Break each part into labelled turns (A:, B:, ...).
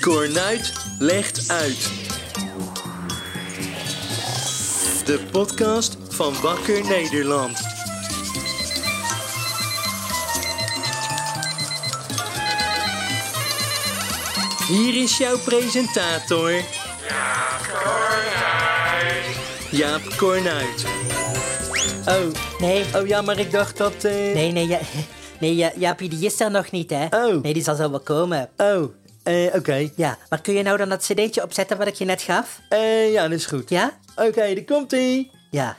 A: Cornuit legt uit. De podcast van Wakker Nederland. Hier is jouw presentator. Jaap Cornuit. Oh,
B: Nee,
A: oh ja, maar ik dacht dat... eh,
B: nee, nee, ja, nee ja, Jaapie, die is er nog niet, hè?
A: Oh.
B: Nee, die zal zo wel komen.
A: Oh, eh, oké.
B: Ja, maar kun je nou dan dat cd'tje opzetten wat ik je net gaf?
A: Eh, ja, dat is goed.
B: Ja?
A: Oké, daar komt-ie.
B: Ja.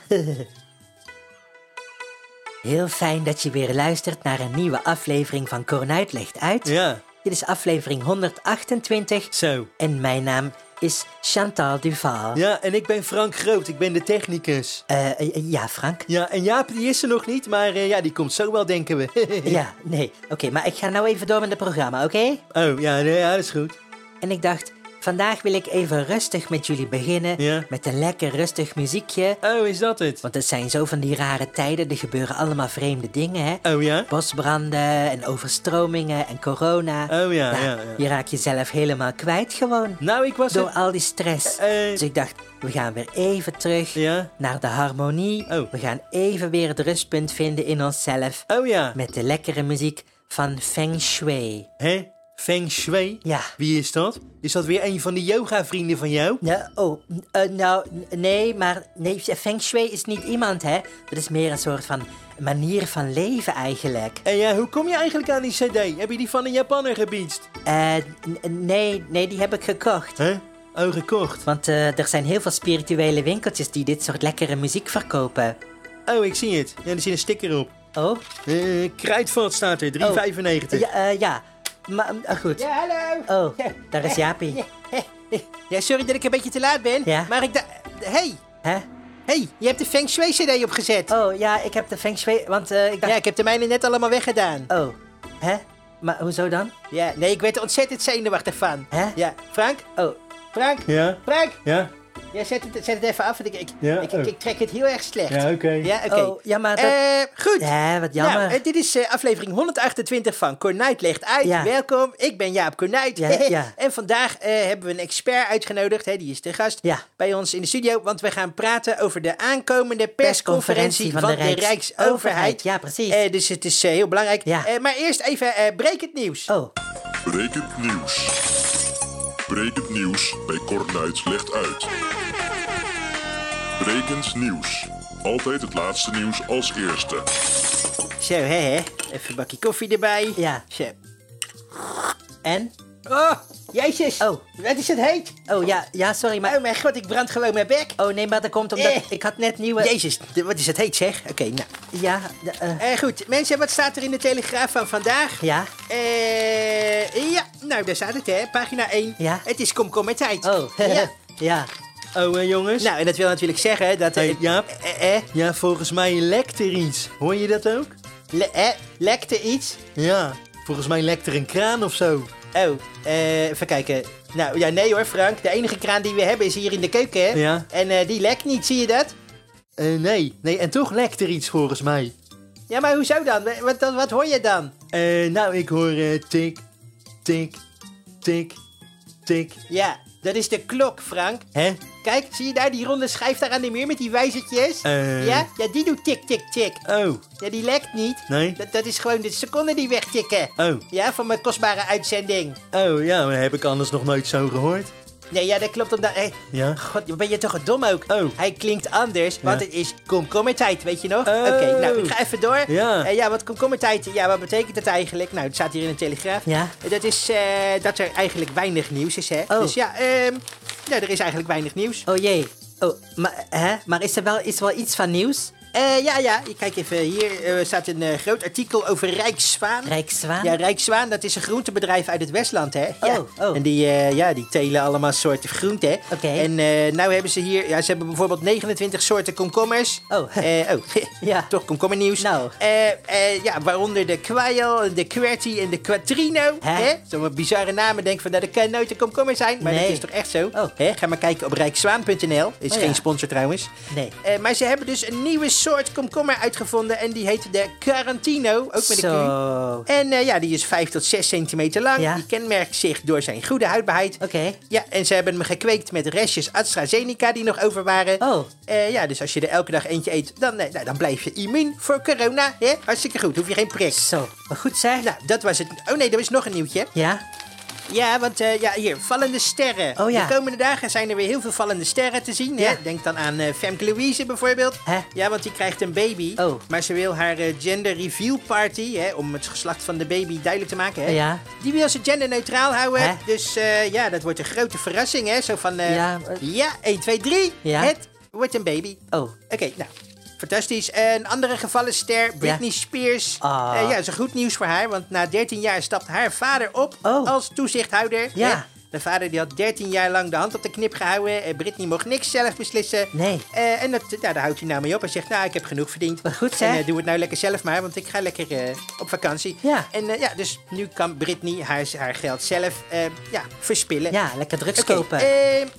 B: Heel fijn dat je weer luistert naar een nieuwe aflevering van Cornuit Legt Uit.
A: Ja,
B: Dit is aflevering 128
A: zo.
B: en mijn naam is Chantal Duval.
A: Ja, en ik ben Frank Groot, ik ben de technicus.
B: Eh, eh, ja, Frank?
A: Ja, en Jaap die is er nog niet, maar eh, ja, die komt zo wel, denken we.
B: Ja, nee. Oké, maar ik ga nou even door met het programma, oké?
A: oh, ja, nee, ja, dat is goed.
B: En ik dacht, vandaag wil ik even rustig met jullie beginnen.
A: Ja.
B: Met een lekker rustig muziekje.
A: Oh, is dat het?
B: Want het zijn zo van die rare tijden. Er gebeuren allemaal vreemde dingen, hè?
A: Oh ja?
B: Bosbranden en overstromingen en corona.
A: Oh ja,
B: Nou,
A: ja, ja.
B: Je raakt jezelf helemaal kwijt gewoon.
A: Nou, ik was
B: Door
A: er...
B: al die stress.
A: Eh, eh.
B: Dus ik dacht, we gaan weer even terug
A: Ja?
B: naar de harmonie.
A: Oh.
B: We gaan even weer het rustpunt vinden in onszelf.
A: Oh ja.
B: Met de lekkere muziek van Feng Shui.
A: Hè? Feng Shui?
B: Ja.
A: Wie is dat? Is dat weer een van die yoga-vrienden van jou?
B: Ja, oh, eh, nou, n- nee, maar nee, Feng Shui is niet iemand, hè. Dat is meer een soort van manier van leven eigenlijk.
A: En ja, hoe kom je eigenlijk aan die cd? Heb je die van een Japanner gebiedst?
B: Eh, n- n- nee, nee, die heb ik gekocht.
A: Hè? Oh, gekocht.
B: Want eh, er zijn heel veel spirituele winkeltjes die dit soort lekkere muziek verkopen.
A: Oh, ik zie het. Ja, er zit een sticker op.
B: Oh,
A: Eh Kruidvat staat er, 3,95.
B: ja, eh, ja. Maar eh, goed.
C: Oh. Ja, hallo.
B: Oh, daar is Jaapie.
C: Ja, sorry dat ik een beetje te laat ben.
B: Ja.
C: Maar ik dacht... Hey,
B: Hè?
C: hey, je hebt de Feng Shui CD opgezet.
B: Oh, ja, ik heb de Feng Shui, want eh, ik dacht...
C: Ja, ik heb de mijne net allemaal weggedaan.
B: Oh, hè? Maar hoezo dan?
C: Ja, nee, ik werd er ontzettend zenuwachtig van.
B: Hè?
C: Ja, Frank?
B: Oh,
C: Frank?
A: Ja?
C: Frank?
A: Ja?
C: Ja, zet het, zet het even af, want ik, ik,
A: Ja,
C: ik, ik-
A: oh.
C: ik trek het heel erg slecht.
A: Ja, oké.
C: Ja, oké.
B: oh, ja, maar dat...
C: Eh, goed.
B: Ja, wat jammer.
C: Nou, eh, dit is eh, aflevering 128 van Cornuit legt uit.
B: Ja.
C: Welkom, ik ben Jaap Cornuit.
B: Ja, ja.
C: En vandaag eh, hebben we een expert uitgenodigd, hè, die is de gast
B: Ja.
C: bij ons in de studio. Want we gaan praten over de aankomende persconferentie van, de, Rijksoverheid.
B: Ja, precies.
C: Eh, dus het is eh, heel belangrijk.
B: Ja.
C: Eh, maar eerst even eh breek het nieuws.
B: Oh,
D: Brekend nieuws. Brekend nieuws bij Kornuit legt uit. Brekend nieuws. Altijd het laatste nieuws als eerste.
C: Zo, hè, hè. Even een bakje koffie erbij.
B: ja.
C: Zo.
B: En?
C: Oh, jezus.
B: Oh.
C: Wat is het heet?
B: Oh ja, ja, sorry, maar...
C: Oh mijn god, ik brand gewoon mijn bek.
B: Oh nee, maar dat komt omdat...
C: Eh.
B: Ik had net nieuwe...
C: Jezus, de- wat is het heet zeg? Oké, nou.
B: Ja, de, eh,
C: Eh, goed, mensen, wat staat er in de Telegraaf van vandaag?
B: ja.
C: Eh, ja, nou, daar staat het, hè. Pagina 1.
B: Ja.
C: Het is komkommertijd.
B: Oh,
C: ja.
B: ja. ja.
A: Oh, eh, jongens.
C: Nou, en dat wil natuurlijk zeggen dat... eh,
A: Hey, Jaap.
C: Eh, eh,
A: Ja, volgens mij lekt er iets. Hoor je dat ook?
C: le- eh, lekte iets?
A: Ja, volgens mij lekt er een kraan of zo.
C: Oh, eh, even kijken. Nou, ja, nee hoor, Frank. De enige kraan die we hebben is hier in de keuken, hè.
A: Ja.
C: En eh, die lekt niet, zie je dat?
A: Eh, nee, nee, en toch lekt er iets volgens mij.
C: Ja, maar hoezo dan? Wat, wat, wat hoor je dan?
A: Eh, nou, ik hoor eh, tik, tik, tik, tik.
C: Ja, dat is de klok, Frank.
A: Hè?
C: Kijk, zie je daar die ronde schijf daar aan de muur met die wijzertjes?
A: Eh.
C: Ja? Ja, die doet tik, tik, tik.
A: Oh,
C: Ja, die lekt niet.
A: Nee.
C: Dat, dat is gewoon de seconden die wegtikken.
A: oh,
C: Ja, van mijn kostbare uitzending.
A: oh, ja, maar heb ik anders nog nooit zo gehoord.
C: Nee, ja, dat klopt omdat... Hé,
A: Ja?
C: god, ben je toch een dom ook?
A: Oh.
C: Hij klinkt anders, want
A: Ja.
C: het is komkommertijd, weet je nog?
A: Oh.
C: Oké, nou, ik ga even door.
A: Ja.
C: Eh, ja, wat komkommertijd, ja, wat betekent dat eigenlijk? Nou, het staat hier in de Telegraaf.
B: Ja.
C: Eh, Dat is eh, dat er eigenlijk weinig nieuws is, hè?
B: Oh.
C: Dus ja, ehm, nou, er is eigenlijk weinig nieuws.
B: Oh jee. Oh, maar, hè? maar is er wel, is er wel iets van nieuws?
C: Eh, ja, ja, kijk even, hier eh, staat een eh, groot artikel over Rijksvaan.
B: Rijkszwaan?
C: Ja, Rijkswaan, dat is een groentebedrijf uit het Westland, hè? Ja.
B: Oh, oh.
C: En die, eh, ja, die telen allemaal soorten groenten, hè?
B: Oké.
C: En eh nou hebben ze hier... Ja, ze hebben bijvoorbeeld 29 soorten komkommers.
B: Oh.
C: Eh, oh,
B: Ja.
C: toch komkommernieuws.
B: Nou.
C: Eh, eh, ja, waaronder de kwijl, de QWERTY en de quattrino.
B: Hè?
C: Hè? Zo'n bizarre namen. Denk van, nou, dat kan nooit een komkommer zijn. Maar dat
B: Nee.
C: is toch echt zo?
B: Oh.
C: Hè? Ga maar kijken op rijkswaan.nl. Is
B: Oh,
C: geen
B: ja.
C: sponsor trouwens.
B: Nee.
C: Eh, maar ze hebben dus een nieuwe soort komkommer uitgevonden en die heet de Carantino, ook met een Q.
B: Zo.
C: En eh, ja, die is 5 tot 6 centimeter lang.
B: Ja.
C: Die kenmerkt zich door zijn goede houdbaarheid.
B: Oké.
C: Ja, en ze hebben hem gekweekt met restjes AstraZeneca die nog over waren.
B: Oh.
C: Eh, ja, dus als je er elke dag eentje eet, dan, eh, nou, dan blijf je immuun voor corona. Hè? Hartstikke goed, hoef je geen prik.
B: Zo. Maar goed zeg.
C: Nou, dat was het. Oh nee, er is nog een nieuwtje.
B: Ja?
C: Ja, want eh, ja, hier, vallende sterren.
B: Oh ja.
C: De komende dagen zijn er weer heel veel vallende sterren te zien.
B: Ja.
C: Hè? Denk dan aan eh, Femke Louise bijvoorbeeld.
B: Hè?
C: Ja, want die krijgt een baby.
B: Oh.
C: Maar ze wil haar eh, gender reveal party, hè, om het geslacht van de baby duidelijk te maken. Hè?
B: Ja.
C: Die wil ze genderneutraal houden.
B: Hè?
C: Dus eh, ja, dat wordt een grote verrassing. Hè? Zo van, eh,
B: Ja, maar-
C: ja, 1, 2, 3.
B: Ja.
C: Het wordt een baby.
B: Oh.
C: Oké, nou. Fantastisch. Een andere gevallen ster, Britney Spears.
B: Ah.
C: Eh, ja, dat is goed nieuws voor haar, want na 13 jaar stapt haar vader op
B: Oh.
C: als toezichthouder.
B: Ja.
C: Hè? De vader die had 13 jaar lang de hand op de knip gehouden. Eh, Britney mocht niks zelf beslissen.
B: Nee.
C: Eh, en dat, nou, daar houdt hij nou mee op. Hij zegt, nou, ik heb genoeg verdiend.
B: Wat goed,
C: En
B: zeg.
C: eh, doe het nou lekker zelf maar, want ik ga lekker eh, op vakantie.
B: Ja.
C: En eh, ja, dus nu kan Britney haar, haar geld zelf eh, ja, verspillen.
B: Ja, lekker drugs
C: Oké,
B: kopen.
C: eh,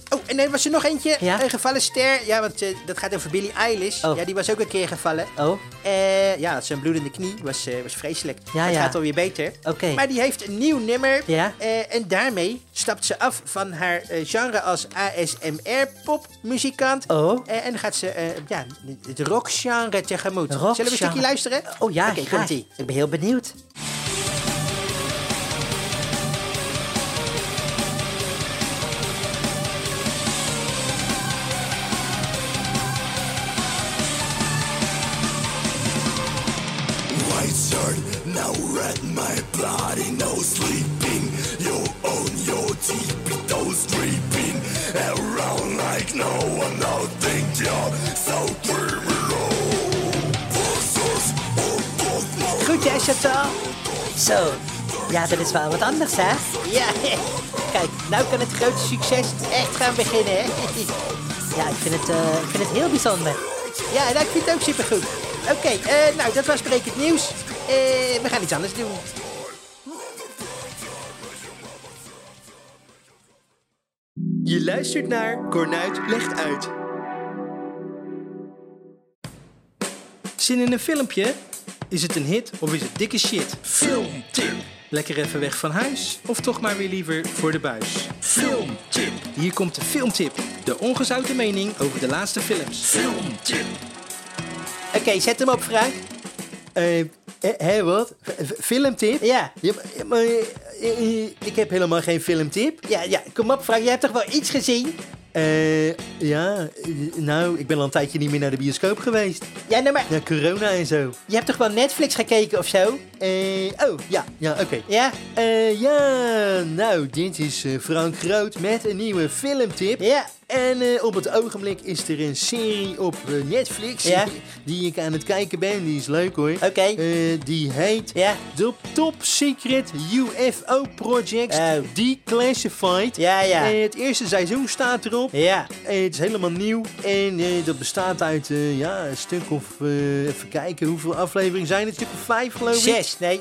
C: oh, en er was er nog eentje.
B: Ja?
C: Een gevallen ster. Ja, want eh, dat gaat over Billie Eilish.
B: Oh.
C: Ja, die was ook een keer gevallen.
B: Oh.
C: Eh, ja, had ze een bloedende knie. Was, eh, was vreselijk.
B: Ja,
C: het
B: ja.
C: gaat alweer beter.
B: Oké.
C: Maar die heeft een nieuw nummer.
B: Ja?
C: Eh, en daarmee stapt ze af van haar eh, genre als ASMR-popmuzikant.
B: Oh.
C: Eh, en gaat ze eh, ja, het rockgenre tegemoet.
B: Rockgenre.
C: Zullen we een stukje luisteren?
B: Oh ja,
C: Oké,
B: graag.
C: komt-ie.
B: Ik ben heel benieuwd.
E: White shirt, now red, my body, no sleeping. You own your deep, those creeping around like no one, nothing. You're so criminal. Versus or both, no
C: Goed, hè, Chantal?
B: Zo. Ja, dat is wel wat anders, hè?
C: Ja, kijk, nou kan het grote succes echt gaan beginnen, hè?
B: Ja, ik vind het, eh, ik vind het heel bijzonder.
C: Ja, nou, ik vind het ook supergoed. Oké, eh, nou, dat was Breek het Nieuws. Eh, we gaan iets anders doen.
A: Je luistert naar Cornuit Legt Uit.
C: Zin in een filmpje? Is het een hit of is het dikke shit?
E: filmtip,
C: Lekker even weg van huis of toch maar weer liever voor de buis?
E: filmtip,
C: Hier komt de filmtip. De ongezouten mening over de laatste films.
E: filmtip,
C: Oké, zet hem op, Frank.
A: Eh, Hé, hé, wat? V- v- filmtip?
C: Ja.
A: Ja, maar- ja, maar, eh, eh, eh, ik heb helemaal geen filmtip.
C: Ja, ja, kom op, Frank. Je hebt toch wel iets gezien?
A: Eh, ja, eh, nou, ik ben al een tijdje niet meer naar de bioscoop geweest.
C: Ja, nou maar...
A: Na corona en zo.
C: Je hebt toch wel Netflix gekeken of zo?
A: Eh, oh, ja, ja, oké.
C: Ja?
A: Eh, ja, nou, dit is eh, Frank Groot met een nieuwe filmtip.
C: Ja.
A: En eh, op het ogenblik is er een serie op eh, Netflix
C: Ja.
A: die ik aan het kijken ben. Die is leuk hoor. Oké.
C: Oké.
A: die heet
C: Ja.
A: The Top Secret UFO Projects
C: Oh.
A: Declassified.
C: Ja, ja.
A: Eh, het eerste seizoen staat erop.
C: Ja.
A: Eh, het is helemaal nieuw en eh, dat bestaat uit eh, ja, een stuk of, eh, even kijken, hoeveel afleveringen zijn het? Een stuk of vijf geloof ik. Eh,
C: Zes, nee.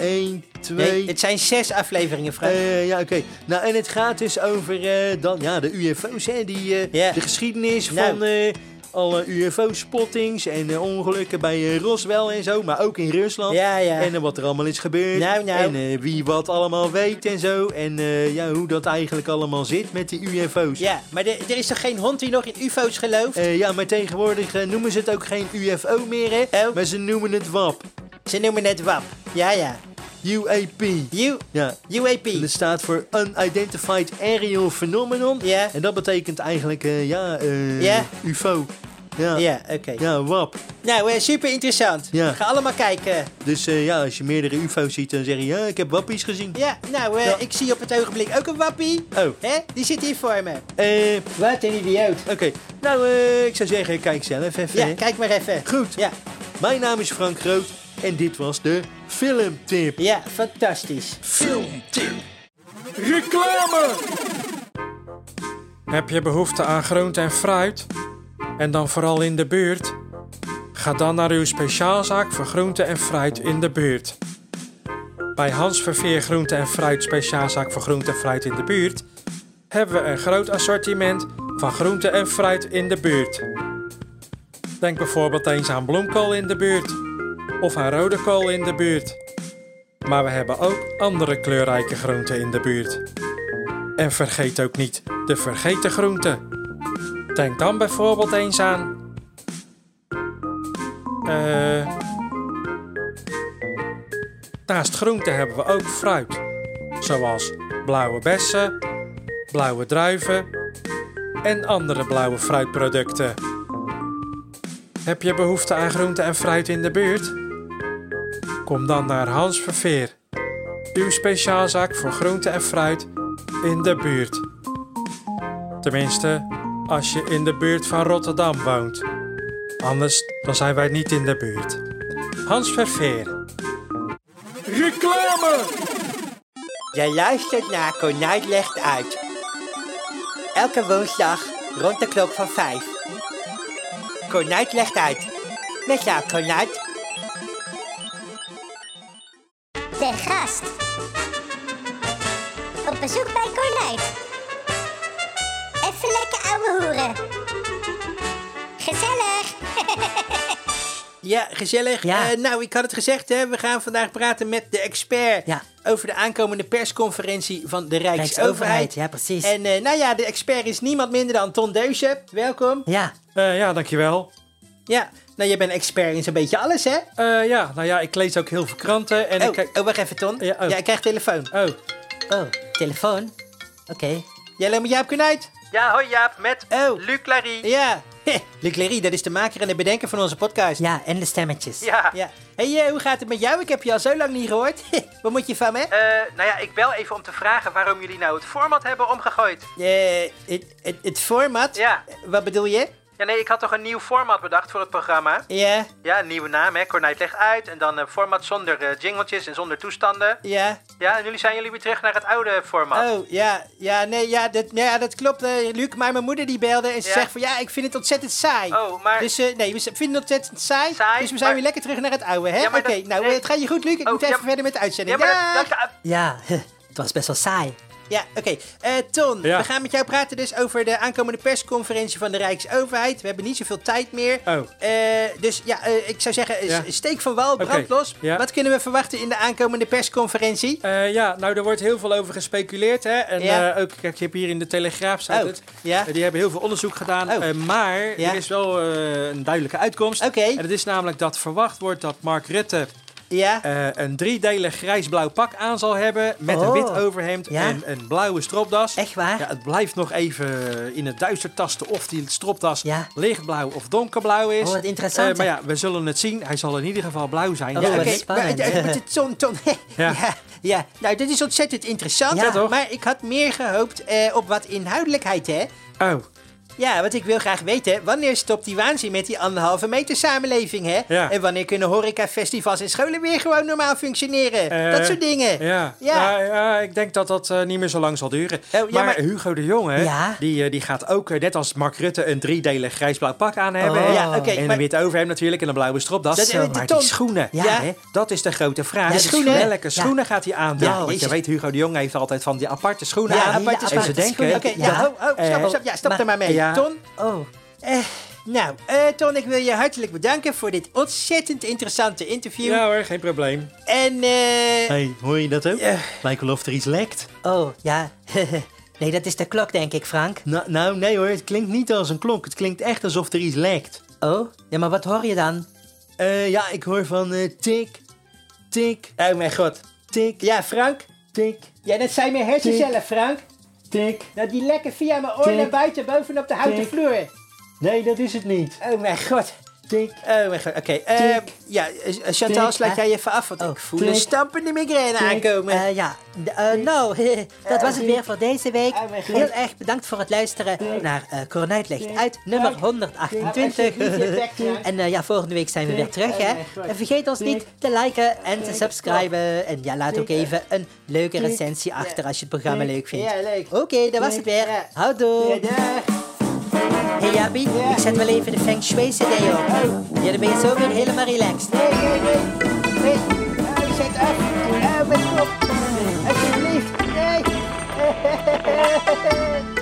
A: 1, 2.
C: Nee, het zijn zes afleveringen, Frank.
A: ja, oké. Nou, en het gaat dus over eh, dan, ja, de UFO's, hè, die, eh,
C: Ja.
A: de geschiedenis
C: Nou.
A: van eh, alle UFO-spottings en eh, ongelukken bij eh, Roswell en zo, maar ook in Rusland.
C: Ja, ja.
A: En eh, wat er allemaal is gebeurd.
C: Nou, nou.
A: En eh, wie wat allemaal weet en zo. En eh, ja, hoe dat eigenlijk allemaal zit met die UFO's.
C: Ja, maar de- er is toch geen hond die nog in ufo's gelooft?
A: Eh, ja, maar tegenwoordig eh, noemen ze het ook geen UFO meer, hè?
C: Oh.
A: Maar ze noemen het WAP.
C: Ze noemen het WAP. Ja, ja.
A: UAP.
C: U,
A: Ja.
C: UAP.
A: Dat staat voor Unidentified Aerial Phenomenon.
C: Ja.
A: En dat betekent eigenlijk, eh, ja, eh,
C: Ja.
A: UFO. Ja.
C: Ja, oké.
A: Ja, WAP.
C: Nou, eh, super interessant.
A: Ja.
C: Ga allemaal kijken.
A: Dus eh, ja, als je meerdere UFO's ziet, dan zeg je, ja, ik heb WAPpies gezien.
C: Ja, nou, eh,
A: Ja.
C: ik zie op het ogenblik ook een wappie.
A: Oh.
C: Hè? Die zit hier voor me.
A: Eh,
C: Wat een idioot.
A: Oké, nou, eh, ik zou zeggen, kijk zelf even.
C: Ja,
A: hè.
C: kijk maar even.
A: Goed.
C: Ja,
A: Mijn naam is Frank Groot en dit was de filmtip.
C: ja fantastisch.
E: filmtip.
F: Heb je behoefte aan groente en fruit? En dan vooral in de buurt? Ga dan naar uw speciaalzaak voor groente en fruit in de buurt. Bij Hans Verveer Groente en Fruit Speciaalzaak voor Groente en Fruit in de buurt hebben we een groot assortiment van groente en fruit in de buurt. Denk bijvoorbeeld eens aan bloemkool in de buurt of aan rode kool in de buurt. Maar we hebben ook andere kleurrijke groenten in de buurt. En vergeet ook niet de vergeten groenten. Denk dan bijvoorbeeld eens aan. Eh. naast groenten hebben we ook fruit, zoals blauwe bessen, blauwe druiven en andere blauwe fruitproducten. Heb je behoefte aan groente en fruit in de buurt? Kom dan naar Hans Verveer, uw speciaalzaak voor groente en fruit in de buurt. Tenminste, als je in de buurt van Rotterdam woont. Anders dan zijn wij niet in de buurt. Hans Verveer.
C: Reclame! Je luistert naar Konijn Legt Uit. Elke woensdag rond de klok van vijf. Konijn Legt Uit. Met jou, Konijn.
G: De gast. Op bezoek bij Cornuit. Even lekker ouwe hoeren. Gezellig.
C: Ja, gezellig.
B: Ja.
C: Eh, nou, ik had het gezegd, hè. we gaan vandaag praten met de expert
B: Ja.
C: over de aankomende persconferentie van de Rijksoverheid.
B: Rijksoverheid, ja, precies.
C: En eh, nou ja, de expert is niemand minder dan Ton Deuze. Welkom.
B: Ja,
F: Eh, ja, dankjewel.
C: Ja, nou, jij bent expert in zo'n beetje alles, hè?
F: Eh, ja, nou ja, ik lees ook heel veel kranten en ik
C: Oh,
F: kijk...
C: oh, wacht even, Ton.
F: Ja,
C: Ja,
F: oh.
C: ik krijg telefoon.
F: Oh,
B: oh, telefoon. Oké.
C: Jij loopt met Jaap Kunuit?
H: Ja, hoi Jaap, met
C: Oh.
H: Luc Larry.
C: Ja. Luc Lery, dat is de maker en de bedenker van onze podcast.
B: Ja, en de stemmetjes.
H: Ja,
C: Ja. Hé, hey, eh, hoe gaat het met jou? Ik heb je al zo lang niet gehoord. Wat moet je van me?
H: Eh, nou ja, ik bel even om te vragen waarom jullie nou het format hebben omgegooid.
C: Eh, het, het, het format?
H: Ja.
C: Wat bedoel je?
H: Ja, nee, ik had toch een nieuw format bedacht voor het programma?
C: Ja,
H: Ja, een nieuwe naam, hè. Cornijt legt uit. En dan een format zonder eh, jingletjes en zonder toestanden.
C: ja.
H: Ja, en jullie zijn jullie weer terug naar het oude format.
C: Oh, ja, ja, nee, ja, dat, nou ja, dat klopt, eh, Luc. Maar mijn moeder die belde en ze
H: Ja.
C: zegt van... Ja, ik vind het ontzettend saai.
H: Oh, maar-
C: Dus, eh, nee, we vinden het ontzettend saai.
H: Saai,
C: dus we zijn
H: maar-
C: weer lekker terug naar het oude, hè?
H: Ja,
C: Oké,
H: maar dat-
C: nou,
H: nee.
C: eh, het gaat je goed, Luc. Ik
H: Oh,
C: moet even
H: ja,
C: verder met de uitzending.
H: ja, maar dat- dat-
C: Daag!
H: dat-
B: Ja, het was best wel saai.
C: Ja, oké. Eh, Ton,
F: Ja.
C: we gaan met jou praten dus over de aankomende persconferentie van de Rijksoverheid. We hebben niet zoveel tijd meer.
F: Oh.
C: Eh, dus ja, eh, ik zou zeggen, eh,
F: Ja.
C: steek van wal, brand
F: Oké,
C: los.
F: ja.
C: Wat kunnen we verwachten in de aankomende persconferentie?
F: Eh, ja, nou, er wordt heel veel over gespeculeerd, hè. En
C: Ja.
F: eh, ook, kijk, je hebt hier in de Telegraaf, staat
C: Oh,
F: het.
C: ja.
F: Eh, die hebben heel veel onderzoek gedaan.
C: Oh.
F: Eh, maar
C: Ja.
F: er is wel eh, een duidelijke uitkomst.
C: Oké.
F: En dat is namelijk dat verwacht wordt dat Mark Rutte
C: Ja,
F: eh, een driedelig grijs-blauw pak aan zal hebben... met een
B: Oh.
F: wit overhemd
B: Ja.
F: en een blauwe stropdas.
B: Echt waar?
F: Ja, het blijft nog even in het duister tasten of die stropdas
B: Ja.
F: lichtblauw of donkerblauw is.
B: Oh, wat interessant,
F: Eh, maar
B: hè?
F: ja, we zullen het zien. Hij zal in ieder geval blauw zijn.
B: Oh,
F: Ja,
B: wat
F: oké.
B: is- spannend.
C: maar, eh, maar dit- Ton, Ton.
F: Ja.
C: ja. Ja, nou, dit is ontzettend interessant.
B: Ja, Ja, toch?
C: Maar ik had meer gehoopt eh, op wat inhoudelijkheid, hè?
F: Oh,
C: Ja, want ik wil graag weten, wanneer stopt die waanzin met die anderhalve meter samenleving, hè?
F: Ja.
C: En wanneer kunnen horeca, festivals en scholen weer gewoon normaal functioneren?
F: Eh,
C: dat soort dingen.
F: ja.
C: Ja. Oh,
F: Nou, ja, ik denk dat dat eh, niet meer zo lang zal duren.
C: ja,
F: maar,
C: maar-
F: Hugo de Jong, hè,
B: Ja.
F: die, eh, die gaat ook, eh, net als Mark Rutte, een driedelig grijs-blauw pak aan hebben.
B: Oh.
F: hè.
C: Ja, oké,
F: en
C: maar-
F: een wit overhemd natuurlijk en een blauwe stropdas.
C: Dat- eh, de
F: maar
C: ton-
F: die schoenen,
B: Ja.
F: hè, dat is de grote vraag.
B: Ja, de
F: Dus
B: schoenen.
F: Welke
B: Ja.
F: schoenen gaat hij aandoen?
B: Ja,
F: Want je
B: jezus.
F: weet, Hugo de Jong heeft altijd van die aparte schoenen
C: Ja,
F: aan.
C: aparte
F: en ze
B: aparte
F: denken...
B: schoenen.
C: Oké,
B: Ja.
C: ja, oh, oh,
F: Eh,
C: stap, stap, ja, stap
B: maar-
C: er maar mee.
F: ja.
C: Ton,
B: Oh,
C: nou, eh, Ton, ik wil je hartelijk bedanken voor dit ontzettend interessante interview.
F: Ja hoor, geen probleem.
C: En, eh,
A: hey, hoor je dat ook?
C: Ja.
A: Lijkt wel of er iets lekt.
B: oh, ja. nee, dat is de klok, denk ik, Frank.
A: Nou, nou, nee hoor, het klinkt niet als een klok. Het klinkt echt alsof er iets lekt.
B: Oh, ja, maar wat hoor je dan?
A: Eh, ja, ik hoor van eh, tik, tik,
C: oh mijn god.
A: tik,
C: Ja, Frank?
A: tik,
C: Ja, dat zijn mijn hersencellen, Frank.
A: tik.
C: Dat die lekker via mijn oor
A: Tik.
C: naar buiten bovenop de houten
A: Tik.
C: vloer.
A: Nee, dat is het niet.
C: Oh mijn god.
A: Tik.
C: Oh mijn god, oké. eh,
A: Tik.
C: ja, eh, Chantal,
A: Tik.
C: sluit jij even af, want
B: Oh,
C: ik voel
A: tik.
C: een stampende migraine aankomen.
B: Eh, ja, D- eh, nou, dat was het weer voor deze week.
C: Eh, Ah, mijn God.
B: Heel erg bedankt voor het luisteren naar eh Cornuit Legt Uit, nummer 128.
C: Ah, alsjeblieft, je bek, Frank.
B: En eh, ja, volgende week zijn we weer terug,
C: Ah,
B: hè.
C: mijn God.
B: En vergeet ons niet te liken en te subscriben. En ja, laat ook even een leuke recensie achter als je het programma leuk vindt.
C: Ja, leuk.
B: Oké, dat was het weer.
C: Ja.
B: Houdoe.
C: Ja, dag.
B: Hey Jabi,
C: Ja. Oh.
B: ik zet wel even de Feng Shui CD op. Ja, dan ben je zo weer helemaal relaxed.
C: Nee, nee, nee. Nee. Ah, zet af. Ah, mijn kop. Alsjeblieft. Nee.